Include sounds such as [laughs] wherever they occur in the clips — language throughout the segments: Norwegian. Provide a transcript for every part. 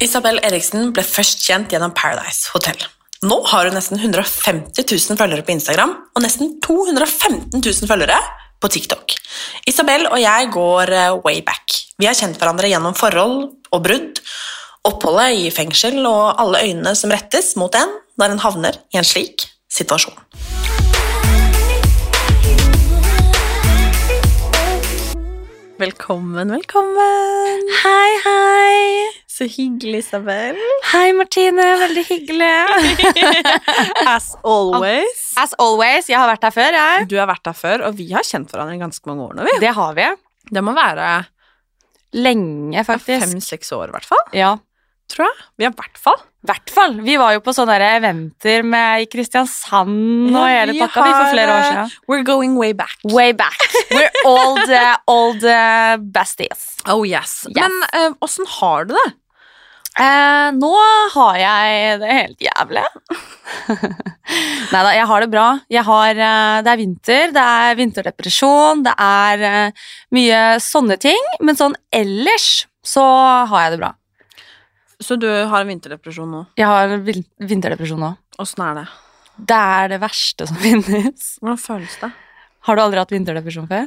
Isabel Eriksen ble først kjent gjennom Paradise Hotel. Nå har hun nesten 150 000 følgere på Instagram og nesten 215 000 følgere på TikTok. Isabel og jeg går eh, way back. Vi har kjent hverandre gjennom forhold og brudd, oppholdet i fengsel og alle øynene som rettes mot en når en havner i en slik situasjon. Velkommen, velkommen! Hei, hei! Så hyggelig, Isabel. Hei, Martine. Veldig hyggelig. [laughs] As always. As always, jeg har vært her før, jeg. Du har vært der før, og vi har kjent hverandre i ganske mange år nå. vi. Det har vi. Det må være Lenge, faktisk. fem-seks år, i hvert fall. Ja. Tror jeg. Vi har i hvert fall. I hvert fall. Vi var jo på sånne der eventer med i Kristiansand og Ja, hele vi pakka vi for har, flere år eh, siden. We're going way back. Way back. We're [laughs] old, uh, old uh, besties. Oh yes. Yes. Men eh, åssen har du det? Eh, nå har jeg det helt [laughs] jævlig. Nei da, jeg har det bra. Jeg har, eh, det er vinter, det er vinterdepresjon, det er eh, mye sånne ting. Men sånn ellers så har jeg det bra. Så du har en vinterdepresjon nå. Jeg har en vin- vinterdepresjon nå. Åssen er det? Det er det verste som [laughs] finnes. Hvordan føles det? Har du aldri hatt vinterdepresjon før?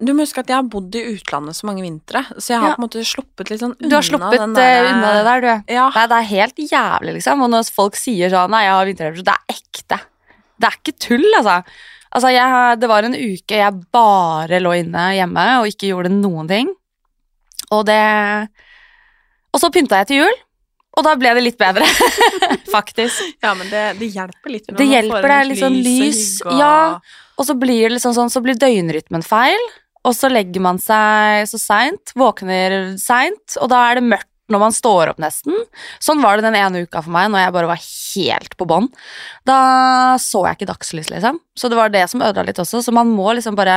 Du må huske at jeg har bodd i utlandet så mange vintre, så jeg har Ja. på en måte sluppet litt sånn unna Du har sluppet den eh, der- unna det der, du. Ja. Nei, det er helt jævlig, liksom. Og når folk sier sånn Nei, jeg har vinterdepresjon, det er ekte. Det er ikke tull, altså. Altså, jeg, har- Det var en uke jeg bare lå inne hjemme og ikke gjorde noen ting. Og det Og så pynta jeg til jul, og da ble det litt bedre, faktisk. eh, ja, men det, det hjelper litt. når man Det får hjelper, inn det er litt litt sånn lys, og hygge og- ja. Og så blir det liksom sånn, så blir døgnrytmen feil, og så legger man seg så seint, våkner seint, og da er det mørkt når man står opp nesten. Sånn var det den ene uka for meg, når jeg bare var helt på bånn. Da så jeg ikke dagslys, liksom. Så det var det som ødela litt også, så man må liksom bare,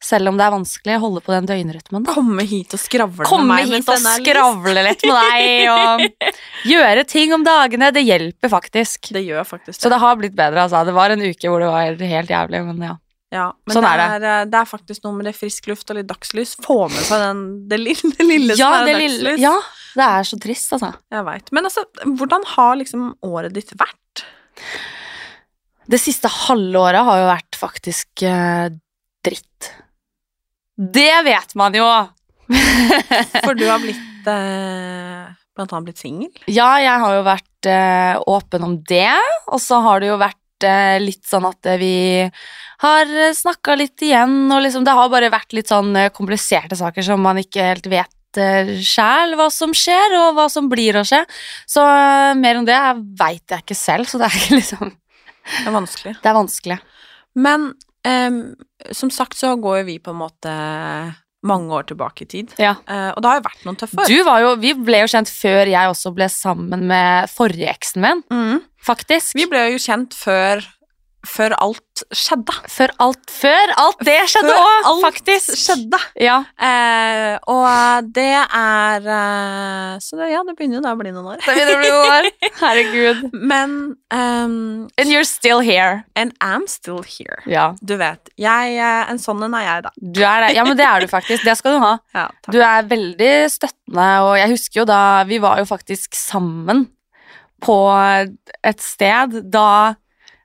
selv om det er vanskelig, holde på den døgnrytmen, da. Komme hit og skravle Komme med meg. mens hit og den er lys. skravle litt med deg, [laughs] og gjøre ting om dagene, det hjelper faktisk. Det gjør faktisk det. Så det har blitt bedre, altså. Det var en uke hvor det var helt jævlig, men ja. Ja, men Sånn det, er er, eh, det er faktisk noe med det frisk luft og litt dagslys. Få med seg den, det lille, det lille som er det dagslys. lille- ja, det er så trist, altså. Jeg vet. Men altså, hvordan har liksom året ditt vært? Det siste halve året har jo vært faktisk eh, dritt. Det vet man jo! For du har blitt eh, blant annet blitt singel. Ja, jeg har jo vært eh, åpen om det, og så har det jo vært eh, litt sånn at eh, vi har snakka litt igjen, og liksom Det har bare vært litt sånn eh, kompliserte saker som man ikke helt vet eh, sjæl hva som skjer, og hva som blir å skje. Så eh, mer om det veit jeg ikke selv, så det er [laughs] ikke liksom Det er vanskelig. Det er vanskelig. Men em, som sagt så går jo vi på en måte mange år tilbake i tid. Ja. Eh, og det har jo vært noen tøffe år. Du var jo, vi ble jo kjent før jeg også ble sammen med forrige eksen min, Mm. faktisk. Vi ble jo kjent før, før alt skjedde. Før alt, før alt det skjedde Før òg, alt faktisk. Skjedde. Ja, Eh, og det er eh, Så det, ja, det begynner jo da å bli noen år. det begynner å bli år. Herregud. Men ehm, And you're still here. And I'm still here. Ja, Du vet. Jeg, eh, en sånn en er jeg, da. du er det. ja, men det er du faktisk. Det skal du ha. Ja, takk. Du er veldig støttende, og jeg husker jo da Vi var jo faktisk sammen på et sted da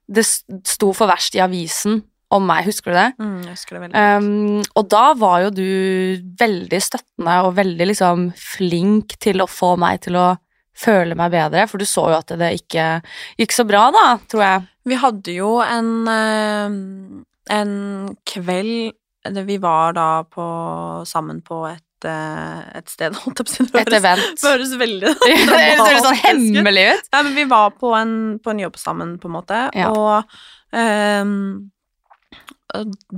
det s- sto for verst i avisen om meg, husker du det? Mm, jeg husker det veldig godt. Um, og da var jo du veldig støttende og veldig liksom flink til å få meg til å føle meg bedre, for du så jo at det ikke gikk så bra da, tror jeg. Vi hadde jo en, eh, en kveld eller Vi var da på, sammen på et, eh, et sted, [laughs] holdt jeg på å si. Det Et høres- event. Det høres [laughs] veldig Det høres sånn dramatisk ut. hemmelig ut. Nei, men vi var på en, på en jobb sammen, på en måte, Ja. og ehm,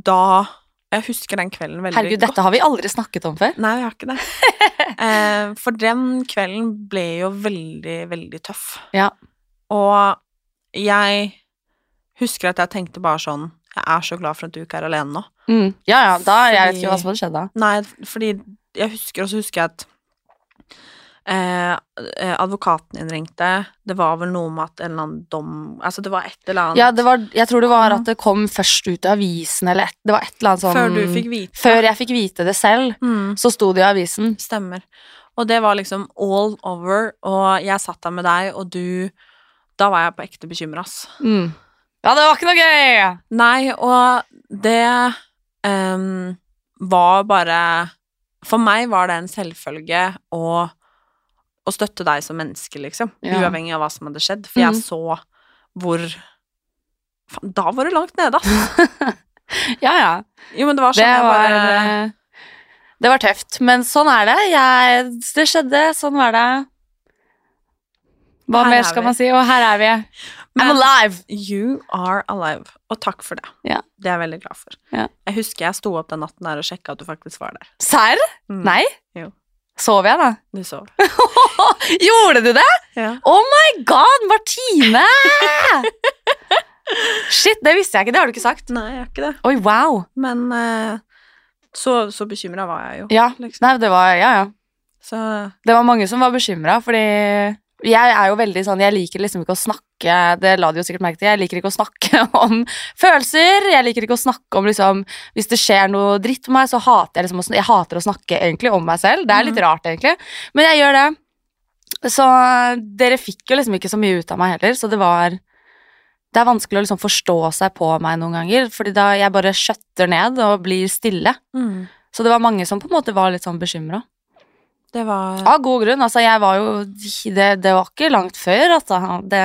da Jeg husker den kvelden veldig Herregud, godt. dette har vi aldri snakket om før. Nei, vi har ikke det. [laughs] Eh, for den kvelden ble jo veldig, veldig tøff. Ja. Og jeg husker at jeg tenkte bare sånn Jeg er så glad for at du ikke er alene nå. Mm. Ja, ja, da, jeg vet Fordi- ikke hva som hadde skjedd da. Nei, fordi jeg husker, og så husker jeg at eh, eh, advokaten innringte. Det var vel noe med at en eller annen dom Altså, det var et eller annet Ja, det var, jeg tror det var at det kom først ut i avisen, eller et, det var et eller annet sånn... før du fikk vite. Før jeg fikk vite det selv, Mm, så sto det i avisen. stemmer. Og det var liksom all over, og jeg satt der med deg, og du Da var jeg på ekte bekymra, ass. Mm. Ja, det var ikke noe gøy! Nei, og det ehm, var bare For meg var det en selvfølge å, å støtte deg som menneske, liksom. Ja. Uavhengig av hva som hadde skjedd. For jeg Mhm. så hvor Faen, da var du langt nede, [laughs] ass! Ja, ja. Jo, men det var sånn Det jeg var, eh, bare det var tøft, men sånn er det. Jeg, det skjedde, sånn var det. Hva Her er mer skal vi. man si? Og her er vi. I'm Men- alive! You are alive. Og takk for det. Ja. Det er jeg veldig glad for. Ja. Jeg husker jeg sto opp den natten der og sjekka at du faktisk var der. Serr? Mm. Nei? Jo. Sov jeg, da? [laughs] Du sov. Gjorde du det? Ja. Oh my god, Martine! [laughs] Shit, det visste jeg ikke. Det har du ikke sagt. Nei, jeg er ikke det. Oi, wow. Men eh, så, så bekymra var jeg jo. Ja. Liksom. Nei, det var, ja, ja. Så Det var mange som var bekymra, fordi jeg er jo veldig sånn Jeg liker liksom ikke å snakke Det la de jo sikkert merke til. Jeg liker ikke å snakke [laughs] om følelser. Jeg liker ikke å snakke om liksom Hvis det skjer noe dritt med meg, så hater jeg liksom å, sn- Jeg hater å snakke egentlig om meg selv. Det er Mhm. litt rart, egentlig. Men jeg gjør det. Så dere fikk jo liksom ikke så mye ut av meg heller, så det var Det er vanskelig å liksom forstå seg på meg noen ganger, fordi da jeg bare skjøtter ned og blir stille. Mm. Så det var mange som på en måte var litt sånn bekymra. det var Av god grunn. Altså, jeg var jo Det, det var ikke langt før, altså. Det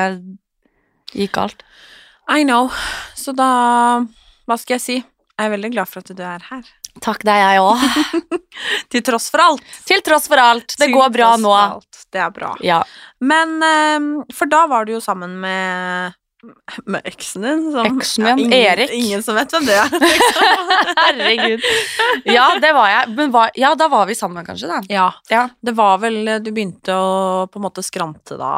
gikk galt. I know. Så da Hva skal jeg si? Jeg er veldig glad for at du er her. Takk, det er jeg òg. Til tross for alt. [laughs] Til tross for alt. Det Til går bra tross nå. for alt. Det er bra. Ja. Men eh, For da var du jo sammen med med eksen din. Som, Eksen min, ingen, Erik. Ingen som vet hvem det er. liksom. Herregud. [laughs] Ja, det var jeg. Men var, ja, da var vi sammen, kanskje, da. ja. Ja. Det var vel Du begynte å på en måte skrante da,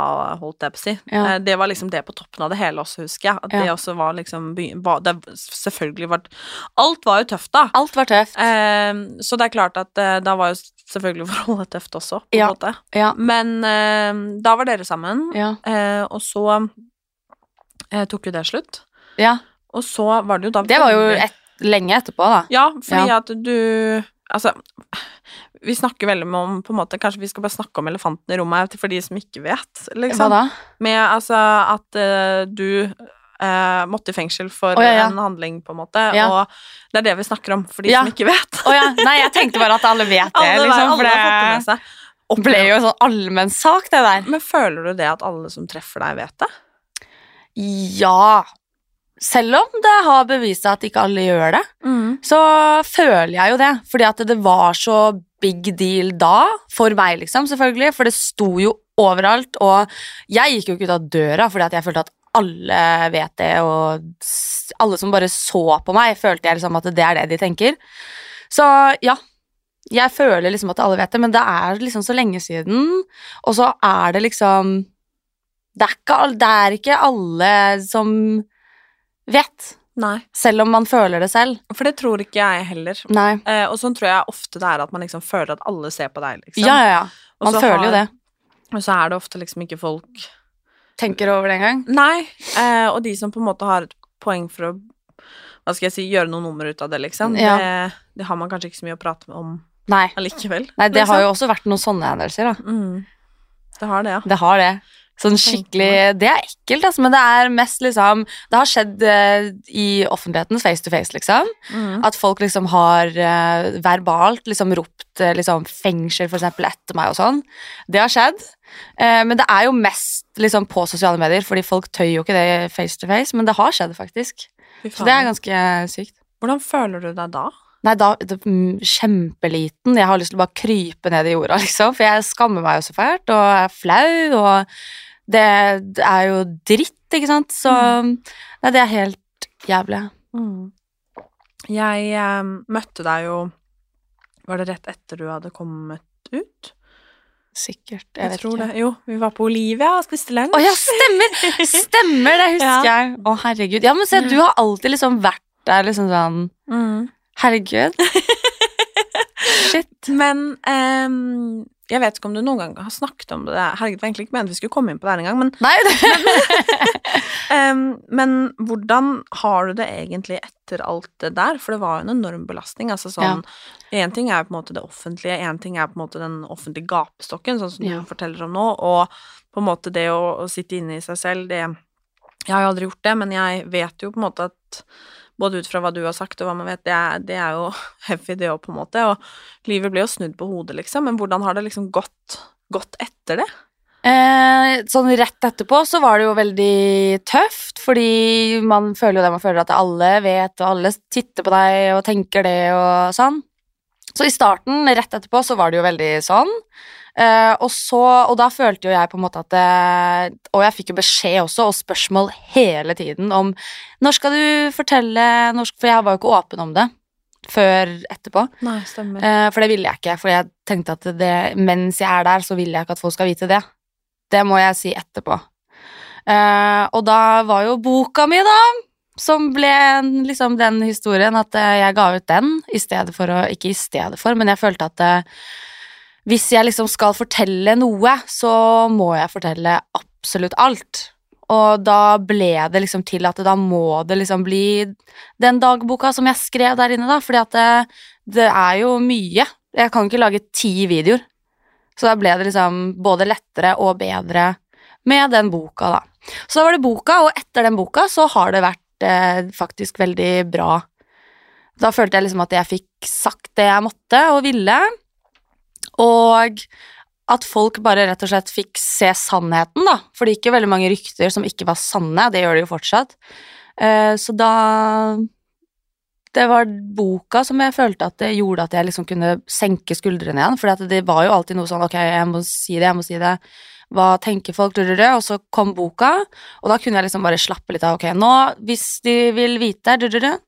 holdt jeg på å si. Ja. Eh, Det var liksom det på toppen av det hele også, husker jeg. At Ja. det også var liksom begy- var- det, Selvfølgelig var Alt var jo tøft, da. Alt var tøft. Ehm, så det er klart at eh, da var jo selvfølgelig [laughs] forholdet tøft også, på en Ja. måte. Ja. Men eh, da var dere sammen, Ja. eh, og så eh, tok jo det slutt. ja. Og så var det jo da Det var jo veldig- et, lenge etterpå, da. Ja, fordi at du Altså, vi snakker veldig mye om på en måte, Kanskje vi skal bare snakke om elefanten i rommet her til- for de som ikke vet, Hva liksom. da? Med altså at eh, du eh, måtte i fengsel for Å, ja, ja. en handling, på en måte. Ja. Og det er det vi snakker om, for de Ja. som ikke vet. Å ja. Nei, jeg tenkte bare at alle vet det, [laughs] Alle, liksom. For alle har fått det med det seg. ble jo en sånn allmenn sak, det der. Men føler du det at alle som treffer deg, vet det? Ja. Selv om det har bevist at ikke alle gjør det. så føler jeg jo det. Fordi at det var så big deal da, for meg liksom, selvfølgelig. For det sto jo overalt, og jeg gikk jo ikke ut av døra fordi at jeg følte at alle vet det, og s- alle som bare så på meg, følte jeg liksom at det er det de tenker. Så ja, jeg føler liksom at alle vet det, men det er liksom så lenge siden, og så er det liksom Det er ikke, all- det er ikke alle som vet, Nei. selv om man føler det selv. For det tror ikke jeg heller. Nei. Eh, og sånn tror jeg ofte det er at man liksom føler at alle ser på deg, liksom. Ja, ja, ja. Og Man så føler har- jo det. Og så er det ofte liksom ikke folk Tenker over det en gang. Nei. Eh, og de som på en måte har et poeng for å hva skal jeg si, gjøre noe nummer ut av det, liksom. Ja. Det, det har man kanskje ikke så mye å prate med om Nei. allikevel. Nei, det har jo også vært noen sånne hendelser, da. mm. Det har det, ja. Det har det. Sånn skikkelig Det er ekkelt, altså, men det er mest liksom Det har skjedd eh, i offentligheten, face to face, liksom. Mm. At folk liksom har eh, verbalt liksom ropt eh, liksom fengsel, for eksempel, etter meg og sånn. Det har skjedd. Eh, men det er jo mest liksom på sosiale medier, fordi folk tøyer jo ikke det face to face, men det har skjedd, faktisk. Fy Så det er faen. ganske sykt. Hvordan føler du deg da? Nei, da det, mm, Kjempeliten. Jeg har lyst til å bare krype ned i jorda, [laughs] liksom. For jeg skammer meg jo så fælt, og er flau, og det, det er jo dritt, ikke sant. Så Mm. Nei, det er helt jævlig. Jeg eh, møtte deg jo Var det rett etter du hadde kommet ut? Sikkert. Jeg, Jeg, vet tror ikke. det. Jo, vi var på Olivia og spiste lunsj. Å ja, stemmer! Stemmer, det husker [laughs] Ja. jeg. Å, herregud. Ja, men se, du har alltid liksom vært der liksom sånn Mm. [laughs] Herregud. Shit. Men ehm, jeg vet ikke om du noen gang har snakket om det. Herregud, det var egentlig ikke ment vi skulle komme inn på det her engang. Men, Nei, det ehm, men hvordan har du det egentlig etter alt det der? For det var jo en enorm belastning. Altså sånn Én ting er på en måte det offentlige, én ting er på en måte den offentlige gapestokken, sånn som Ja. du forteller om nå, og på en måte det å, å sitte inne i seg selv, det Jeg har jo aldri gjort det, men jeg vet jo på en måte at både ut fra hva du har sagt og hva man vet, det er, det er jo [laughs] heavy det òg, på en måte, og livet ble jo snudd på hodet, liksom, men hvordan har det liksom gått, gått etter det? Eh, sånn rett etterpå så var det jo veldig tøft, fordi man føler jo det man føler, at alle vet, og alle titter på deg og tenker det og sånn. Så i starten, rett etterpå, så var det jo veldig sånn. Eh, og, så, og da følte jo jeg på en måte at det, Og jeg fikk jo beskjed også, og spørsmål hele tiden om Når skal du fortelle når, sk- For jeg var jo ikke åpen om det før etterpå. Nei, stemmer. Eh, For det ville jeg ikke, for jeg tenkte at det, mens jeg er der, så vil jeg ikke at folk skal vite det. Det må jeg si etterpå. Eh, og da var jo boka mi, da, som ble en- liksom den historien at eh, jeg ga ut den i stedet for å Ikke i stedet for, men jeg følte at eh, hvis jeg liksom skal fortelle noe, så må jeg fortelle absolutt alt. Og da ble det liksom til at da må det liksom bli den dagboka som jeg skrev der inne, da, fordi at eh, det er jo mye. Jeg kan ikke lage ti videoer. Så da ble det liksom både lettere og bedre med den boka, da. Så da var det boka, og etter den boka så har det vært eh, faktisk veldig bra. Da følte jeg liksom at jeg fikk sagt det jeg måtte og ville, og at folk bare rett og slett fikk se sannheten, da. For det gikk jo veldig mange rykter som ikke var sanne, det gjør det jo fortsatt. Eh, så da det var boka som jeg følte at det gjorde at jeg liksom kunne senke skuldrene igjen. For det var jo alltid noe sånn ok, jeg må si det, jeg må si det. Hva tenker folk? Drururur, og så kom boka, og da kunne jeg liksom bare slappe litt av. Ok, nå, hvis de vil vite drururur,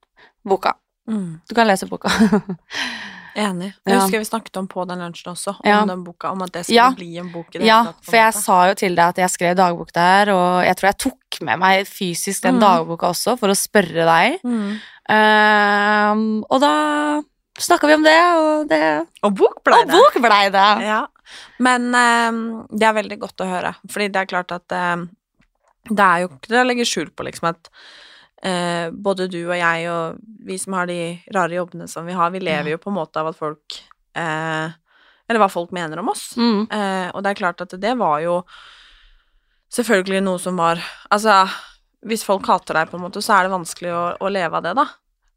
boka. Mm. Du kan lese boka. Enig. Jeg Ja. husker vi snakket om på den lunsjen også, om Ja. den boka, om at det skulle Ja. bli en bok i det ja, hele tatt, på en for jeg måte. sa jo til deg at jeg skrev dagbok der, og jeg tror jeg tok med meg fysisk den Mm. dagboka også for å spørre deg. Mm. Ehm, og da snakka vi om det, og det Og bok ble Og det. bok blei det! Ja, men eh, det er veldig godt å høre, fordi det er klart at eh, det er jo ikke til å legge skjul på, liksom, at eh, både du og jeg og vi som har de rare jobbene som vi har, vi lever jo på en måte av at folk eh, Eller hva folk mener om oss. Mm. Eh, og det er klart at det var jo selvfølgelig noe som var Altså, hvis folk hater deg, på en måte, så er det vanskelig å, å leve av det, da.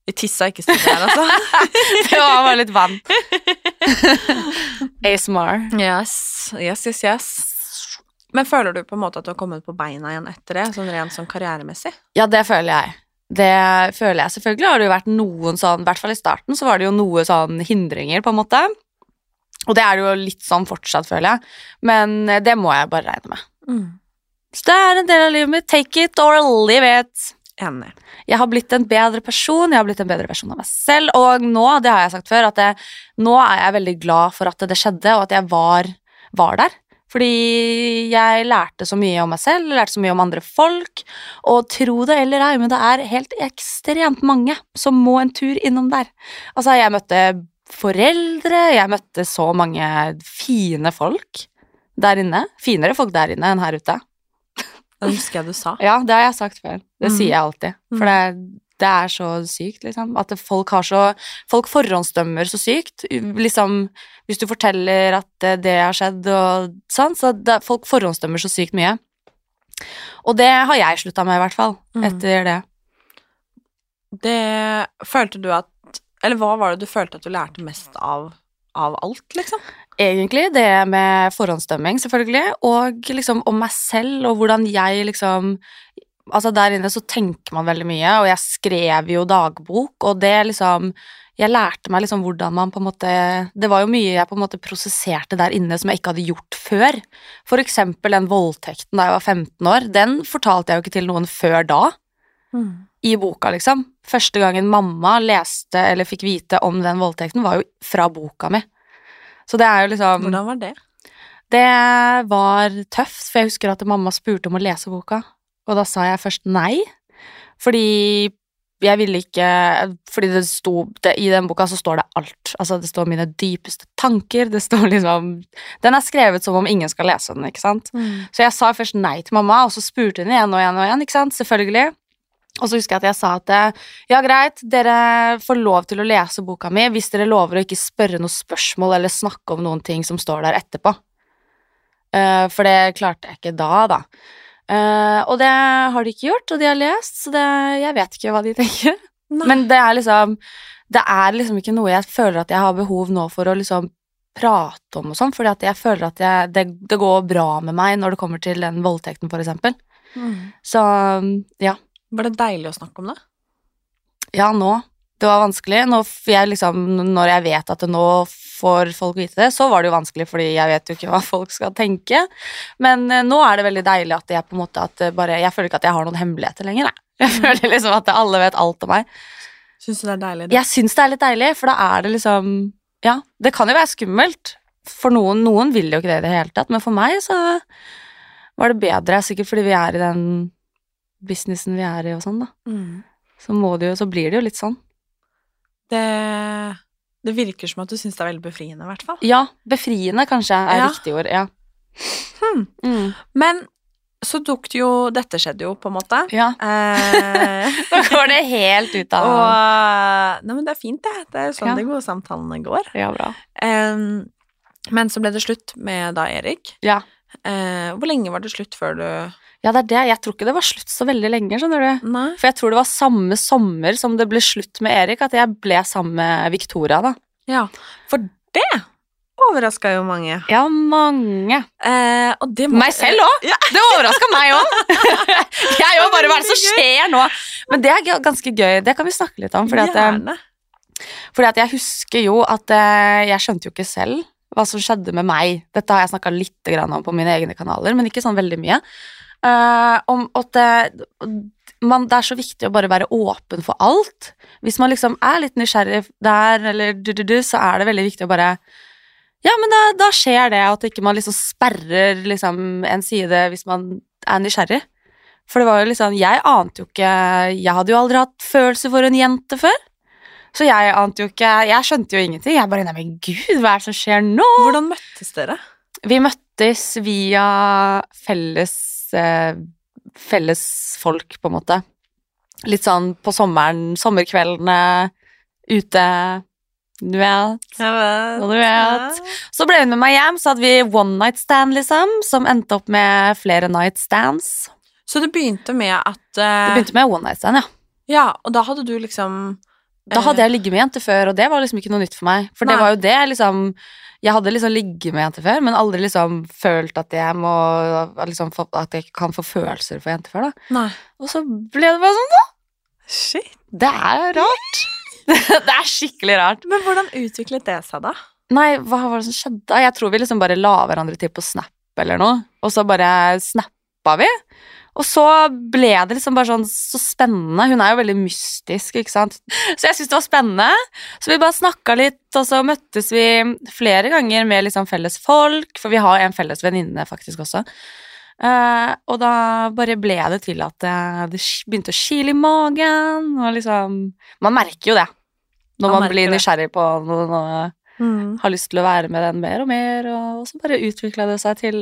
Vi tissa ikke stille her, altså. [laughs] Det var bare litt vann. ASMR. Yes, yes, yes, yes. Men føler du på en måte at du har kommet på beina igjen etter det, sånn rent sånn karrieremessig? Ja, det føler jeg. Det føler jeg. Selvfølgelig har det jo vært noen sånn, i hvert fall i starten, så var det jo noe sånn hindringer, på en måte. Og det er det jo litt sånn fortsatt, føler jeg. Men eh, det må jeg bare regne med. Så det er en del av livet mitt. Take it or leave it. Enig. Jeg har blitt en bedre person, jeg har blitt en bedre versjon av meg selv, og nå, det har jeg sagt før, at jeg, nå er jeg veldig glad for at det skjedde, og at jeg var, var der. Fordi jeg lærte så mye om meg selv, jeg lærte så mye om andre folk, og tro det eller ei, men det er helt ekstremt mange som må en tur innom der. Altså, jeg møtte foreldre, jeg møtte så mange fine folk der inne. Finere folk der inne enn her ute. Det husker jeg du sa. Ja, det har jeg sagt før. Det Mm. sier jeg alltid. For det, det er så sykt, liksom. At det- folk har så Folk forhåndsdømmer så sykt. U- Liksom, eh, hvis du forteller at det, det har skjedd og sånn, så det, folk forhåndsdømmer så sykt mye. Og det har jeg slutta med, i hvert fall. Mm. Etter det. Det følte du at Eller hva var det du følte at du lærte mest av av alt, liksom? Egentlig det med forhåndsdømming, selvfølgelig, og liksom om meg selv og hvordan jeg liksom Altså, der inne så tenker man veldig mye, og jeg skrev jo dagbok, og det liksom jeg lærte meg liksom hvordan man på en måte Det var jo mye jeg på en måte prosesserte der inne som jeg ikke hadde gjort før. For eksempel den voldtekten da jeg var 15 år. Den fortalte jeg jo ikke til noen før da. I boka, liksom. Første gangen mamma leste eller fikk vite om den voldtekten, var jo fra boka mi. Så det er jo liksom Hvordan var det? det var tøft, for jeg husker at mamma spurte om å lese boka, og da sa jeg først nei, fordi jeg ville ikke Fordi det sto det, I den boka så står det alt. Altså, det står mine dypeste tanker, det står liksom Den er skrevet som om ingen skal lese den, ikke sant? Mm. Så jeg sa først nei til mamma, og så spurte hun igjen og igjen og igjen, ikke sant? Selvfølgelig. Og så husker jeg at jeg sa at eh, ja, greit, dere får lov til å lese boka mi hvis dere lover å ikke spørre noen spørsmål eller snakke om noen ting som står der etterpå. Eh, for det klarte jeg ikke da, da. Eh, og det har de ikke gjort, og de har lest, så det, jeg vet ikke hva de tenker. Men det er liksom Det er liksom ikke noe jeg føler at jeg har behov nå for å liksom prate om og sånn, fordi at jeg føler at jeg, det, det går bra med meg når det kommer til den voldtekten, for eksempel. Så ja. Var det deilig å snakke om det? Ja, nå. Det var vanskelig. Nå f- jeg liksom, når jeg vet at det nå får folk vite det, så var det jo vanskelig, fordi jeg vet jo ikke hva folk skal tenke. Men eh, nå er det veldig deilig at jeg på en måte at eh, bare, Jeg føler ikke at jeg har noen hemmeligheter lenger, jeg. [laughs] Jeg føler liksom at alle vet alt om meg. Syns du det er deilig? det? Jeg syns det er litt deilig, for da er det liksom Ja, det kan jo være skummelt. For noen, noen vil jo ikke det i det hele tatt, men for meg så var det bedre. Sikkert fordi vi er i den businessen vi er i og sånn, da. Mm. Så, må det jo, så blir det jo litt sånn. Det, det virker som at du syns det er veldig befriende, i hvert fall. Ja, befriende kanskje er Ja. riktig ord. Ja. Mm. Men så tok det jo Dette skjedde jo, på en måte. [laughs] ja. Eh, [laughs] Nå går det helt ut av og Nei, men det er fint, det. Det er jo sånn Ja. de gode samtalene går. Ja, bra. Eh, men så ble det slutt med da Erik. Ja. Eh, hvor lenge var det slutt før du Ja, det er det. Jeg tror ikke det var slutt så veldig lenge, skjønner du. Nei. For jeg tror det var samme sommer som det ble slutt med Erik, at jeg ble sammen med Victoria, da. Ja, for det overraska jo mange. Ja, mange. Eh, og det må- Meg selv òg! Ja. Det overraska meg [laughs] òg! Jeg òg bare Hva er det som skjer nå? Men det er g- ganske gøy. Det kan vi snakke litt om. Fordi at, eh, Gjerne. Fordi at jeg husker jo at eh, jeg skjønte jo ikke selv hva som skjedde med meg. Dette har jeg snakka litt grann om på mine egne kanaler, men ikke sånn veldig mye. Eh, om at eh, man, det er så viktig å bare være åpen for alt. Hvis man liksom er litt nysgjerrig der, eller du-du-du, så er det veldig viktig å bare Ja, men da, da skjer det, og at ikke man liksom sperrer liksom en side hvis man er nysgjerrig. For det var jo liksom Jeg ante jo ikke Jeg hadde jo aldri hatt følelser for en jente før. Så jeg ante jo ikke Jeg skjønte jo ingenting. Jeg bare Nei, men gud, hva er det som skjer nå? Hvordan møttes dere? Vi møttes via felles eh, Felles folk, på en måte. Litt sånn på sommeren, sommerkveldene, ute Du vet. Jeg vet. Og du vet. Så ble hun med meg hjem, så hadde vi one night stand, liksom, som endte opp med flere night stands. Så det begynte med at Det eh, begynte med one night stand, ja. Ja, og da hadde du liksom Da hadde jeg ligget med jenter før, og det var liksom ikke noe nytt for meg. For Nei. det var jo det, liksom Jeg hadde liksom ligget med jenter før, men aldri liksom følt at jeg må liksom, få- At jeg ikke kan få følelser for jenter før, da. Nei. Og så ble det bare sånn, da. Shit. Det er rart. [laughs] det er skikkelig rart. Men hvordan utviklet det seg, da? Nei, hva var det som skjedde? Jeg tror vi liksom bare la hverandre til på Snap eller noe, og så bare snappa vi. Og så ble det liksom bare sånn så spennende. Hun er jo veldig mystisk, ikke sant. [laughs] Så jeg syntes det var spennende. Så vi bare snakka litt, og så møttes vi flere ganger med liksom felles folk, for vi har en felles venninne faktisk også. Eh, og da bare ble det til at eh, det sk- begynte å kile i magen, og liksom Man merker jo det når Man man blir merker det. Mm. nysgjerrig på noe. noe har lyst til å være med den mer og mer, og så bare utvikla det seg til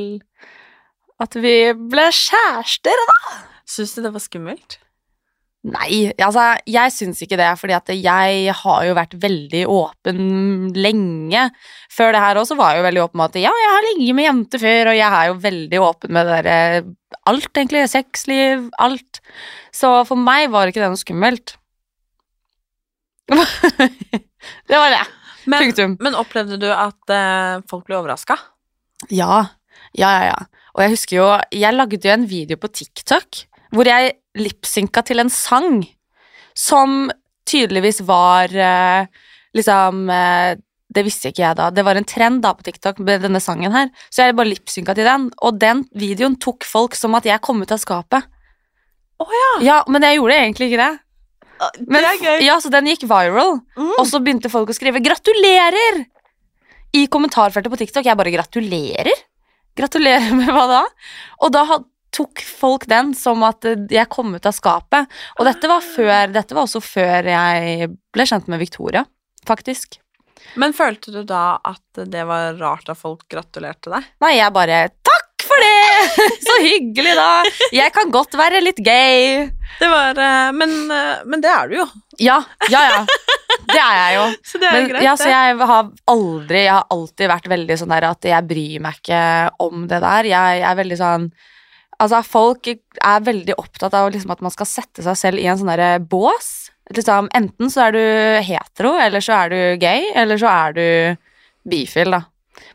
at vi ble kjærester. Syns du det var skummelt? Nei, altså jeg syns ikke det, fordi at jeg har jo vært veldig åpen lenge. Før det her også var jeg jo veldig åpen med at ja, jeg har ligget med jenter før, og jeg er jo veldig åpen med det derre alt, egentlig. Sexliv, alt. Så for meg var ikke det noe skummelt. [laughs] det var det. Men, Punktum. men opplevde du at eh, folk ble overraska? Ja, ja, ja, ja. Og jeg husker jo, jeg lagde jo en video på TikTok hvor jeg lipsynka til en sang som tydeligvis var eh, liksom eh, Det visste ikke jeg da. Det var en trend da på TikTok med denne sangen her. Så jeg bare lipsynka til den, og den videoen tok folk som at jeg kom ut av skapet. Å Ja, men jeg gjorde egentlig ikke det. Men, det er gøy. Mm. Ja, Så den gikk viral, og så begynte folk å skrive 'gratulerer' i kommentarfeltet på TikTok. Jeg bare 'gratulerer'? Gratulerer [laughs] med hva da? Og da had- tok folk den som at eh, jeg kom ut av skapet. Og dette Ah. var, før, dette var også før jeg ble kjent med Victoria, faktisk. Men følte du da at det var rart at folk gratulerte deg? Nei, jeg bare 'takk for det'! [laughs] Så hyggelig, da! Jeg kan godt være litt gay. Det var, eh, men, eh, men det er du jo. Ja, ja, ja. Det er jeg jo. [laughs] Så det er Men, greit. ja, det. så jeg har aldri Jeg har alltid vært veldig sånn der at jeg bryr meg ikke om det der. Jeg, er veldig sånn Altså, folk er veldig opptatt av liksom at man skal sette seg selv i en sånn derre bås. Liksom, enten så er du hetero, eller så er du gay, eller så er du bifil, da.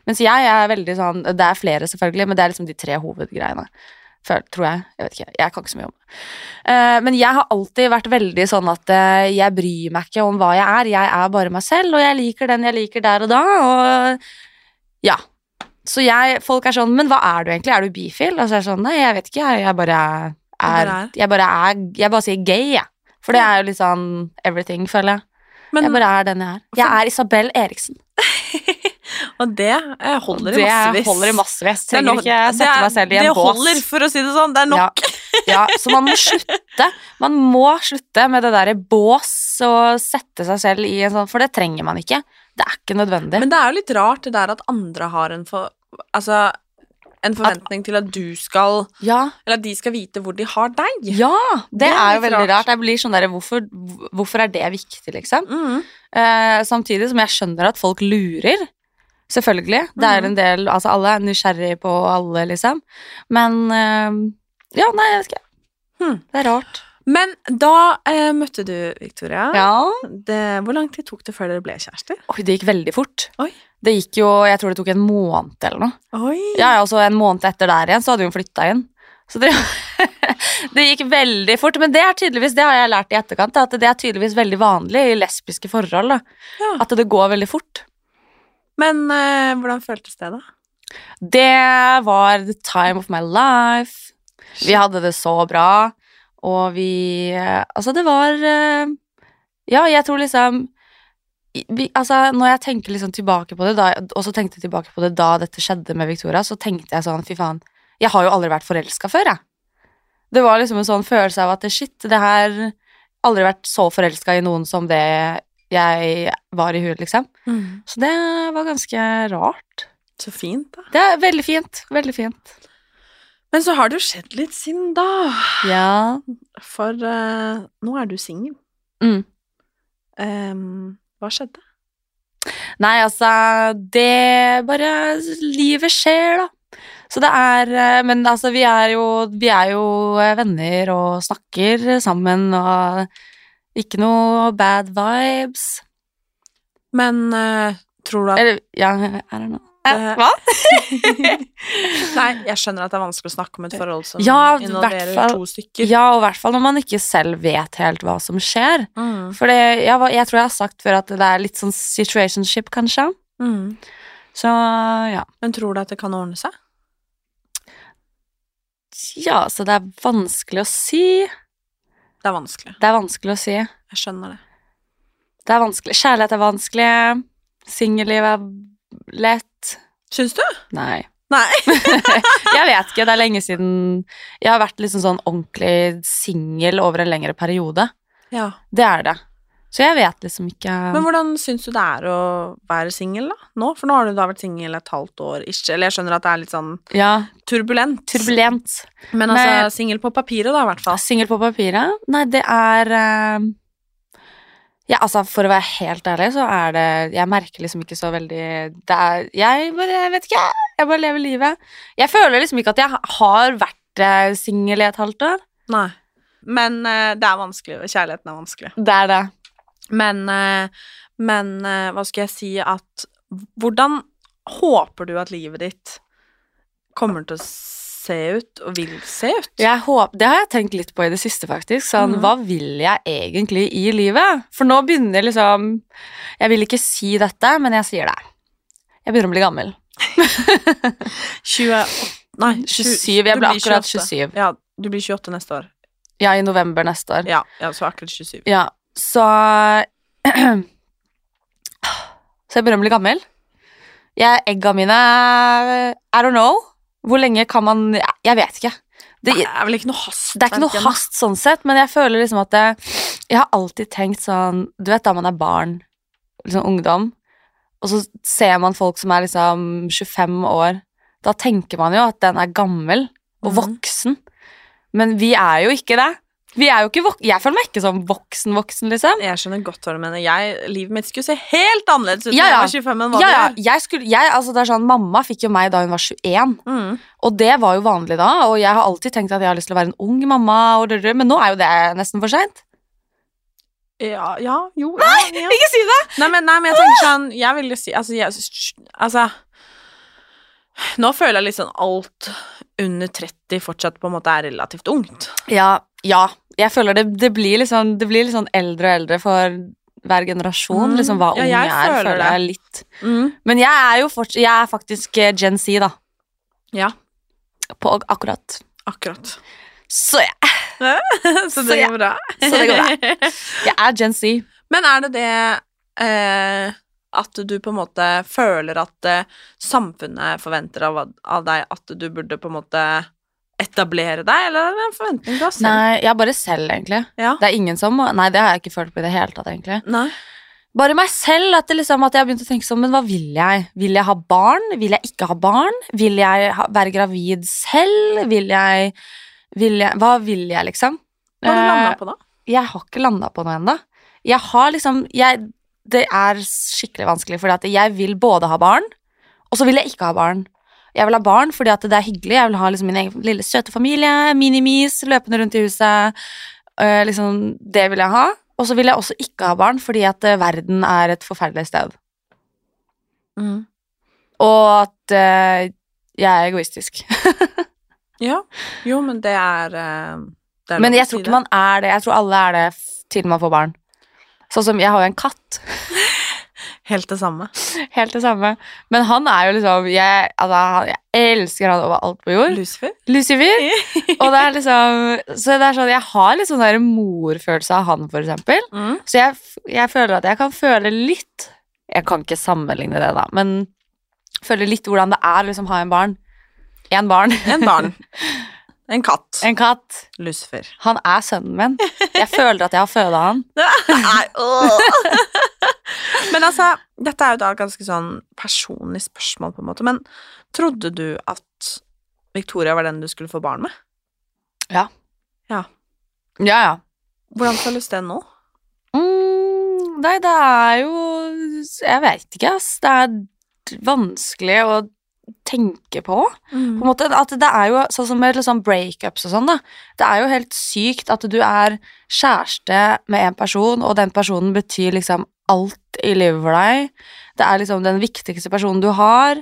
Mens jeg er veldig sånn Det er flere, selvfølgelig, men det er liksom de tre hovedgreiene. Føl, tror jeg. Jeg vet ikke. Jeg kan ikke så mye om det. Eh, Men jeg har alltid vært veldig sånn at eh, jeg bryr meg ikke om hva jeg er. Jeg er bare meg selv, og jeg liker den jeg liker der og da. Og ja. Så jeg, folk er sånn Men hva er du egentlig? Er du bifil? Og så er jeg sånn Nei, jeg vet ikke. Jeg, jeg bare er bare er. Jeg bare er Jeg bare sier gay, jeg. For det er jo litt sånn everything, føler jeg. men, Jeg bare er den jeg er. Jeg er Isabel Eriksen. og det eh, holder i det massevis. holder i massevis. Det er Trenger nok- ikke det sette er- meg selv i en Det bås. holder, for å si det sånn. Det er nok. Ja. [laughs] Ja, så man må slutte. Man må slutte med det derre bås og sette seg selv i en sånn For det trenger man ikke. Det er ikke nødvendig. Men det er jo litt rart det der at andre har en, for, altså, en forventning til at du skal ja, Eller at de skal vite hvor de har deg. ja, det, Det er er jo litt veldig rart. rart. Jeg blir sånn derre hvorfor, hvorfor er det viktig, liksom? Mm. Eh, samtidig som jeg skjønner at folk lurer. Selvfølgelig. Det er en del Altså, alle er nysgjerrig på alle, liksom. Men eh, Ja, nei, jeg vet ikke. Hmm. Det er rart. Men da eh, møtte du Victoria. Ja. Det, hvor lang tid tok det før dere ble kjærester? Oi, det gikk veldig fort. Oi. Det gikk jo Jeg tror det tok en måned eller noe. Oi. Ja, ja, og så en måned etter der igjen, så hadde hun flytta inn. Så det, [laughs] det gikk veldig fort. Men det er tydeligvis, det har jeg lært i etterkant, at det er tydeligvis veldig vanlig i lesbiske forhold. Da. Ja. At det går veldig fort. Men eh, hvordan føltes det, da? Det var the time of my life. Vi hadde det så bra, og vi eh, Altså, det var eh, Ja, jeg tror liksom i- vi, altså, når jeg tenker liksom tilbake på det, da, og så tenkte jeg tilbake på det da dette skjedde med Victoria, så tenkte jeg sånn, fy faen, jeg har jo aldri vært forelska før, jeg. Det var liksom en sånn følelse av at shit, det her Aldri vært så forelska i noen som det jeg var i huet, liksom. Så det var ganske rart. Så fint, da. Det er veldig fint. Veldig fint. Men så har det jo skjedd litt siden da. Ja. For eh, nå er du singel. Mm. Em, hva skjedde? Nei, altså, det bare Livet skjer, da. Så det er eh, Men altså, vi er jo, vi er jo eh, venner og snakker sammen og ikke noe bad vibes. Men eh, tror du at Eller ja, er det noe? Eh, Hva? [laughs] Nei, jeg skjønner at det er vanskelig å [laughs] snakke om et forhold som Ja, i involverer hvert fall- to stykker. Ja, og i hvert fall når man ikke selv vet helt hva som skjer. Mm. For det, jeg, var- jeg tror jeg har sagt før at det er litt sånn situationship, kanskje. Mm. Så ja. Men tror du at det kan ordne seg? Ja, så det er vanskelig å si. Det er vanskelig. Det er vanskelig å si. Jeg skjønner det. Det er vanskelig. Kjærlighet er vanskelig. Singelliv er lett. Syns du? Nei. Nei. [laughs] Jeg vet ikke. Det er lenge siden jeg har vært liksom sånn ordentlig singel over en lengre periode. Ja. Det er det. Så jeg vet liksom ikke Men hvordan syns du det er å være singel da, nå? For nå har du da vært singel et halvt år ish, eller jeg skjønner at det er litt sånn Ja, turbulent. turbulent. Men Nei. altså, singel på papiret da, i hvert fall. Singel på papiret? Nei, det er eh, Ja, altså, for å være helt ærlig, så er det Jeg merker liksom ikke så veldig Det er Jeg bare jeg vet ikke, jeg. jeg bare lever livet. Jeg føler liksom ikke at jeg har vært eh, singel i et halvt år. Nei. Men eh, det er vanskelig, og kjærligheten er vanskelig. Det er det. Men, eh, men eh, hva skal jeg si at Hvordan håper du at livet ditt kommer til å se ut, og vil se ut? Jeg håper, det har jeg tenkt litt på i det siste, faktisk. Sånn, Mhm. Hva vil jeg egentlig i livet? For nå begynner jeg liksom Jeg vil ikke si dette, men jeg sier det. Jeg begynner å bli gammel. 28 Nei, 27, jeg du ble blir akkurat 27. Ja, du blir 28 neste år. Ja, i november neste år. Ja, ja så akkurat 27. Ja, så [clears throat] Så jeg begynner å bli gammel. Jeg, egga mine I don't know. Hvor lenge kan man Jeg, jeg vet ikke. Det Det, er vel ikke noe hast? det er ikke noe verken. hast sånn sett, men jeg føler liksom at det, Jeg har alltid tenkt sånn Du vet da man er barn, liksom ungdom, og så ser man folk som er liksom 25 år. Da tenker man jo at den er gammel og Mhm. voksen. Men vi er jo ikke det. Vi er jo ikke vok jeg føler meg ikke som voksen-voksen, liksom. Jeg skjønner godt hva du mener. Jeg, livet mitt skulle se helt annerledes ut da Ja, ja. jeg var 25 enn hva Ja, ja, det jeg skulle, jeg, altså det er sånn, Mamma fikk jo meg da hun var 21, gjør. Mm. og det var jo vanlig da. Og jeg har alltid tenkt at jeg har lyst til å være en ung mamma, og det, det, men nå er jo det nesten for seint. Ja, ja, jo Nei, ja, ja. Ikke si det! Nei, men, nei, men jeg tenker sånn Jeg vil jo si Altså, jeg, altså Nå føler jeg litt sånn alt under 30 fortsatt på en måte er relativt ungt. Ja, ja. Jeg føler det, det, blir litt sånn- det blir litt sånn eldre og eldre for hver generasjon. Mm, liksom Hva ja, unge jeg er, føler føler det. jeg litt. Men jeg er jo fortsatt, jeg er faktisk eh, Gen Z, da. Ja. På ak- akkurat. Akkurat. Så jeg, [laughs] Så det ja. går bra. Så det går bra. jeg er Gen Z. Men er det det eh, at du på en måte føler at eh, samfunnet forventer av, av deg at du burde på en måte etablere deg, eller er det en forventning du har selv? Nei, jeg er bare selv, egentlig. Ja. Det er ingen som Nei, det har jeg ikke følt på i det hele tatt, egentlig. Nei. Bare meg selv, at, det liksom, at jeg har begynt å tenke sånn, men hva vil jeg? Vil jeg ha barn? Vil jeg ikke ha barn? Vil jeg ha, være gravid selv? Vil jeg, vil jeg Hva vil jeg, liksom? Hva har du Eh, landa på da? jeg har ikke landa på noe ennå. Jeg har liksom jeg, Det er skikkelig vanskelig, fordi at jeg vil både ha barn, og så vil jeg ikke ha barn. Jeg vil ha barn fordi at det er hyggelig. Jeg vil ha liksom min egen lille søte familie, minimis løpende rundt i huset. Eh, liksom, det vil jeg ha. Og så vil jeg også ikke ha barn fordi at eh, verden er et forferdelig sted. Mm. Og at eh, jeg er egoistisk. Ja. Jo, men det er, eh, det er [laughs] Men lov å jeg si tror det. ikke man er det. Jeg tror alle er det f- til man får barn. Sånn som jeg har jo en katt. Helt det samme. Helt det samme. Men han er jo liksom Jeg, altså, han- jeg elsker han over alt på jord. Lucifer? Lucifer. Og det er liksom Så det er sånn Jeg har litt sånn der morfølelse av han, for eksempel. Mm. Så jeg, f- jeg føler at jeg kan føle litt Jeg kan ikke sammenligne det, da, men føle litt hvordan det er å liksom ha en barn. En barn. [laughs] En barn. En katt. En katt. Lucifer. Han er sønnen min. Jeg føler at jeg har føda han. Nei, åh. [laughs] Men altså, dette er jo da et ganske sånn personlig spørsmål, på en måte. Men trodde du at Victoria var den du skulle få barn med? Ja, ja. Hvordan føles det nå? Mm, nei, det er jo Jeg veit ikke, ass. Det er vanskelig å tenke på. Mm. På en måte at Det er jo sånn som med liksom breakups og sånn, da. Det er jo helt sykt at du er kjæreste med en person, og den personen betyr liksom alt i livet for deg. Det er liksom den viktigste personen du har.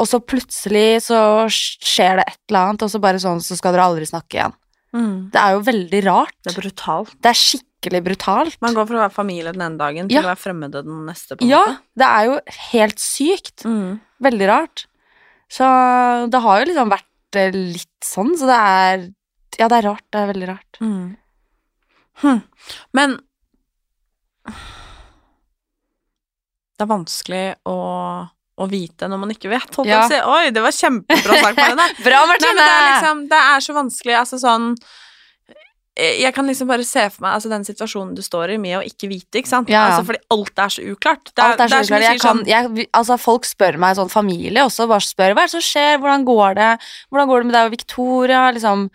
Og så plutselig så skjer det et eller annet, og så bare sånn, så skal dere aldri snakke igjen. Mm. Det er jo veldig Det er rart. brutalt. Det er skikkelig brutalt. Man går fra å være familie den ene dagen til Ja. å være fremmede den neste. på en Ja, måte. det er jo helt sykt. Mm. Veldig rart. Så det har jo liksom vært eh, litt sånn, så det er Ja, det er rart. Det er veldig rart. Mm. Hm. Men det er vanskelig å, å vite når man ikke vet. Holdt Ja. ja. si. Oi, det var [laughs] kjempebra sagt, Marlene. Bra, liksom, Nei, men det, er liksom, det er så vanskelig. Altså sånn jeg kan liksom bare se for meg altså, den situasjonen du står i med å ikke vite, ikke sant? Ja, ja. Altså, fordi alt er så uklart. Det Alt er så det som uklart. du Jeg sier, sånn- kan, jeg, vi- altså, folk spør meg, sånn familie også, bare spør hva er det som skjer, hvordan går det, hvordan går det med deg og Victoria, liksom,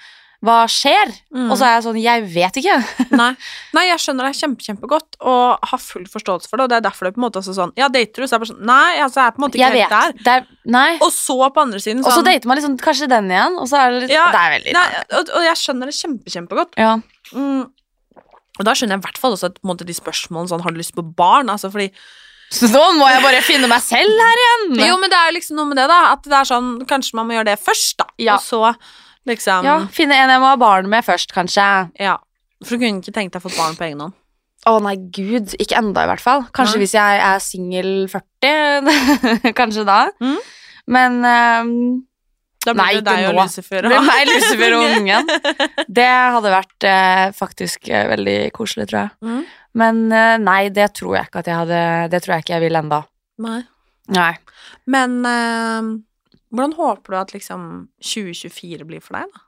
hva skjer? Mm. Og så er jeg sånn, jeg vet ikke. Nei. Nei, jeg skjønner deg kjempe, kjempegodt og har full forståelse for det. Og det er derfor det er på en måte også sånn Ja, dater du? Så er det bare sånn Nei, altså, jeg er på en måte ikke Jeg vet. helt der. Det er, nei. Og så på andre siden Og så sånn dater man liksom kanskje den igjen, og så er det litt, Ja, det er veldig Nei, og, og jeg skjønner det kjempe, kjempegodt. Ja. Mm. Og da skjønner jeg i hvert fall også at, på en måte, de spørsmålene sånn Har du lyst på barn? Altså fordi Så nå må jeg bare finne meg selv her igjen. Jo, men det er jo liksom noe med det, da. At det er sånn Kanskje man må gjøre det først, da. Ja. Og så liksom Ja, Ja. finne en jeg må ha barn med først, kanskje. For du kunne ikke tenkt deg å få barn på egen hånd. Å nei, gud, ikke enda i hvert fall. Kanskje Nei. hvis jeg er singel 40, [laughs] kanskje da. Mm. Men ehm, Da blir Nei, det deg ikke og nå. Lucifer. det og- blir meg, Lucifer og ungen. [laughs] Det hadde vært eh, faktisk eh, veldig koselig, tror jeg. Mm. Men eh, nei, det tror jeg ikke at jeg hadde Det tror jeg ikke jeg vil enda. Nei. Nei. Men eh, hvordan håper du at liksom 2024 blir for deg, da?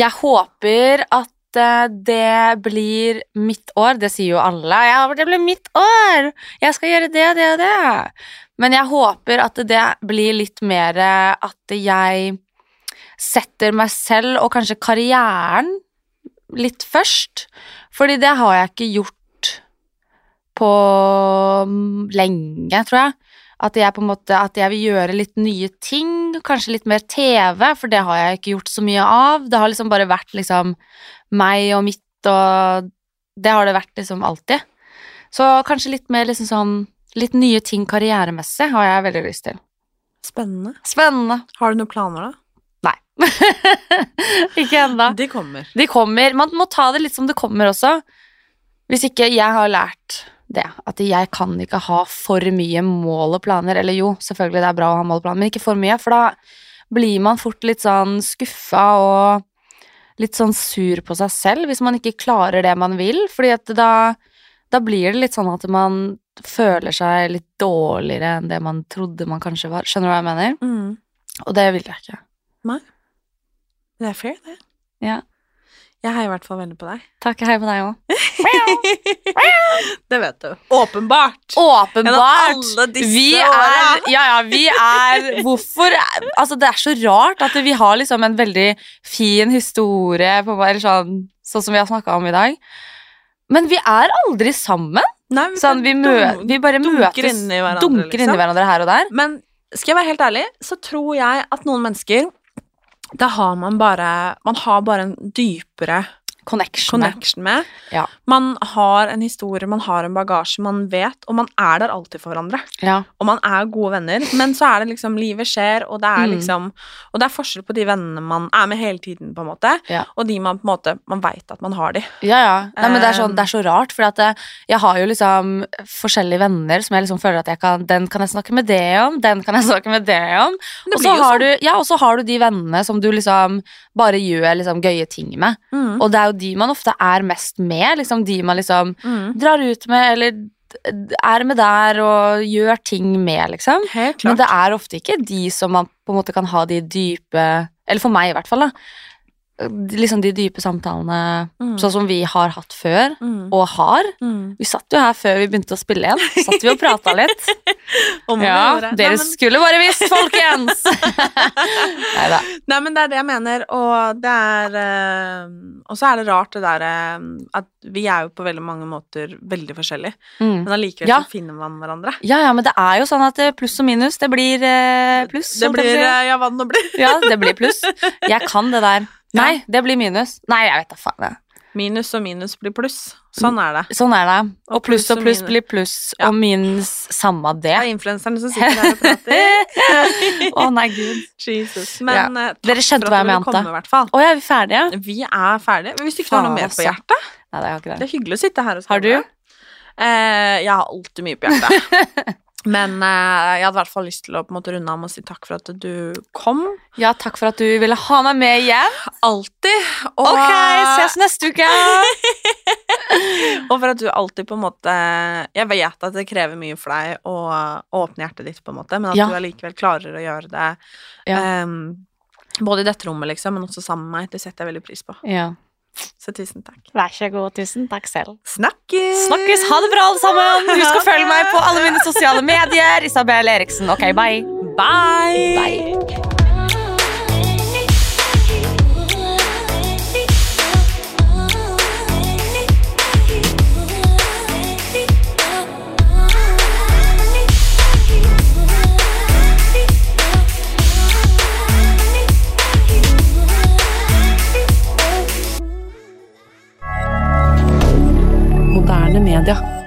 Jeg håper at eh, det blir mitt år. Det sier jo alle. Jeg håper det blir mitt år! Jeg skal gjøre det, det og det. Men jeg håper at det blir litt mer eh, at jeg setter meg selv og kanskje karrieren litt først. Fordi det har jeg ikke gjort på mm, lenge, tror jeg. At jeg på en måte, at jeg vil gjøre litt nye ting, kanskje litt mer TV, for det har jeg ikke gjort så mye av. Det har liksom bare vært liksom meg og mitt, og det har det vært liksom alltid. Så kanskje litt mer liksom sånn, litt nye ting karrieremessig har jeg veldig lyst til. Spennende. Spennende. Har du noen planer, Nei. [laughs] ikke ennå. da? De kommer. De kommer. Man må ta det litt som det kommer også. Hvis ikke jeg har lært det, at jeg kan ikke ha for mye mål og planer. Eller jo, selvfølgelig det er bra å ha mål og planer, men ikke for mye. For da blir man fort litt sånn skuffa og litt sånn sur på seg selv hvis man ikke klarer det man vil. Fordi at da, da blir det litt sånn at man føler seg litt dårligere enn det man trodde man kanskje var. Skjønner du hva jeg mener? Mm. Og det vil jeg ikke. Det er fair, det. Ja. Jeg heier i hvert fall veldig på deg. Takk, hei på deg òg. det vet du. Åpenbart. Åpenbart! Gjennom alle disse vi åra. er, ja, ja, vi er Hvorfor Altså, det er så rart at vi har liksom en veldig fin historie, på, eller sånn, sånn som vi har snakka om i dag. Men vi er aldri sammen. Nei, vi Sånn, vi, mø dun- vi bare dunker møtes inn i hverandre, Dunker inn i liksom. hverandre her og der. Men skal jeg være helt ærlig, så tror jeg at noen mennesker da har man bare Man har bare en dypere Connection. connection med. Ja. Man har en historie, man har en bagasje, man vet, og man er der alltid for hverandre. Ja. Og man er gode venner, men så er det liksom Livet skjer, og det er Mm. liksom Og det er forskjell på de vennene man er med hele tiden, på en måte, Ja. og de man på en måte Man veit at man har de. Ja, ja. Nei, men det er, sånn, Um, det er så rart, for jeg har jo liksom forskjellige venner som jeg liksom føler at jeg kan, den kan jeg snakke med det om, den kan jeg [laughs] snakke med det om. Men det Og så blir jo sånn. har, du- ja, og så har du de vennene som du liksom bare gjør liksom gøye ting med. Mm. Og det er jo de man ofte er mest med, liksom de man liksom Mm. drar ut med, eller d- er med der og gjør ting med, liksom. Helt Men klart. det er ofte ikke de som man på en måte kan ha de dype Eller for meg i hvert fall, da. Liksom de dype samtalene Mm. sånn som vi har hatt før, Mm. og har. Mm. Vi satt jo her før vi begynte å spille igjen. Satt vi [laughs] og prata litt. Om Ja, å gjøre. dere Nei, men- skulle bare [laughs] visst, folkens! Nei da. Nei, men det er det jeg mener, og det er eh, Og så er det rart det derre at vi er jo på veldig mange måter veldig forskjellige, Mm. men allikevel Ja. så finner man hverandre. Ja, ja, men det er jo sånn at eh, pluss og minus, det blir eh, pluss. Det holdt jeg blir på å si. eh, Ja, hva det nå blir. Ja, det blir [laughs] pluss. Jeg kan det der. Nei, det blir minus. Nei, jeg vet da faen. jeg. Minus og minus blir pluss. Sånn er det. Sånn er det. Og Og pluss pluss og og pluss minus. blir pluss, Ja. og minus samme det. Det er influenserne som sitter der og [laughs] prater. [laughs] Å nei, gud. Jesus. Men eh, takk Dere skjønte for hva at jeg dere ville mente. komme, i hvert fall. Å, er vi ferdige? Nei, Vi er ferdige. Men hvis du ikke har noe Faen, mer på altså. hjertet det er ikke Det det. er hyggelig å sitte her og Har skrive. altså. Eh, jeg har alltid mye på hjertet. [laughs] Men eh, jeg hadde i hvert fall lyst til å på en måte, runde av med å si takk for at du kom. Ja, takk for at du ville ha meg med igjen. Alltid. Og, Ok, ses neste [laughs] uke. og for at du alltid på en måte Jeg vet at det krever mye for deg å, å åpne hjertet ditt, på en måte, men at Ja. du allikevel klarer å gjøre det ehm, Ja. em, både i dette rommet, liksom, men også sammen med meg. Det setter jeg veldig pris på. Ja. Så tusen takk. Vær så god. Tusen takk selv. Snakkes! Snakkes! Ha det bra, alle sammen! Husk å følge meg på alle mine sosiale medier. Isabel Eriksen. Ok, bye. Bye! Moderne media.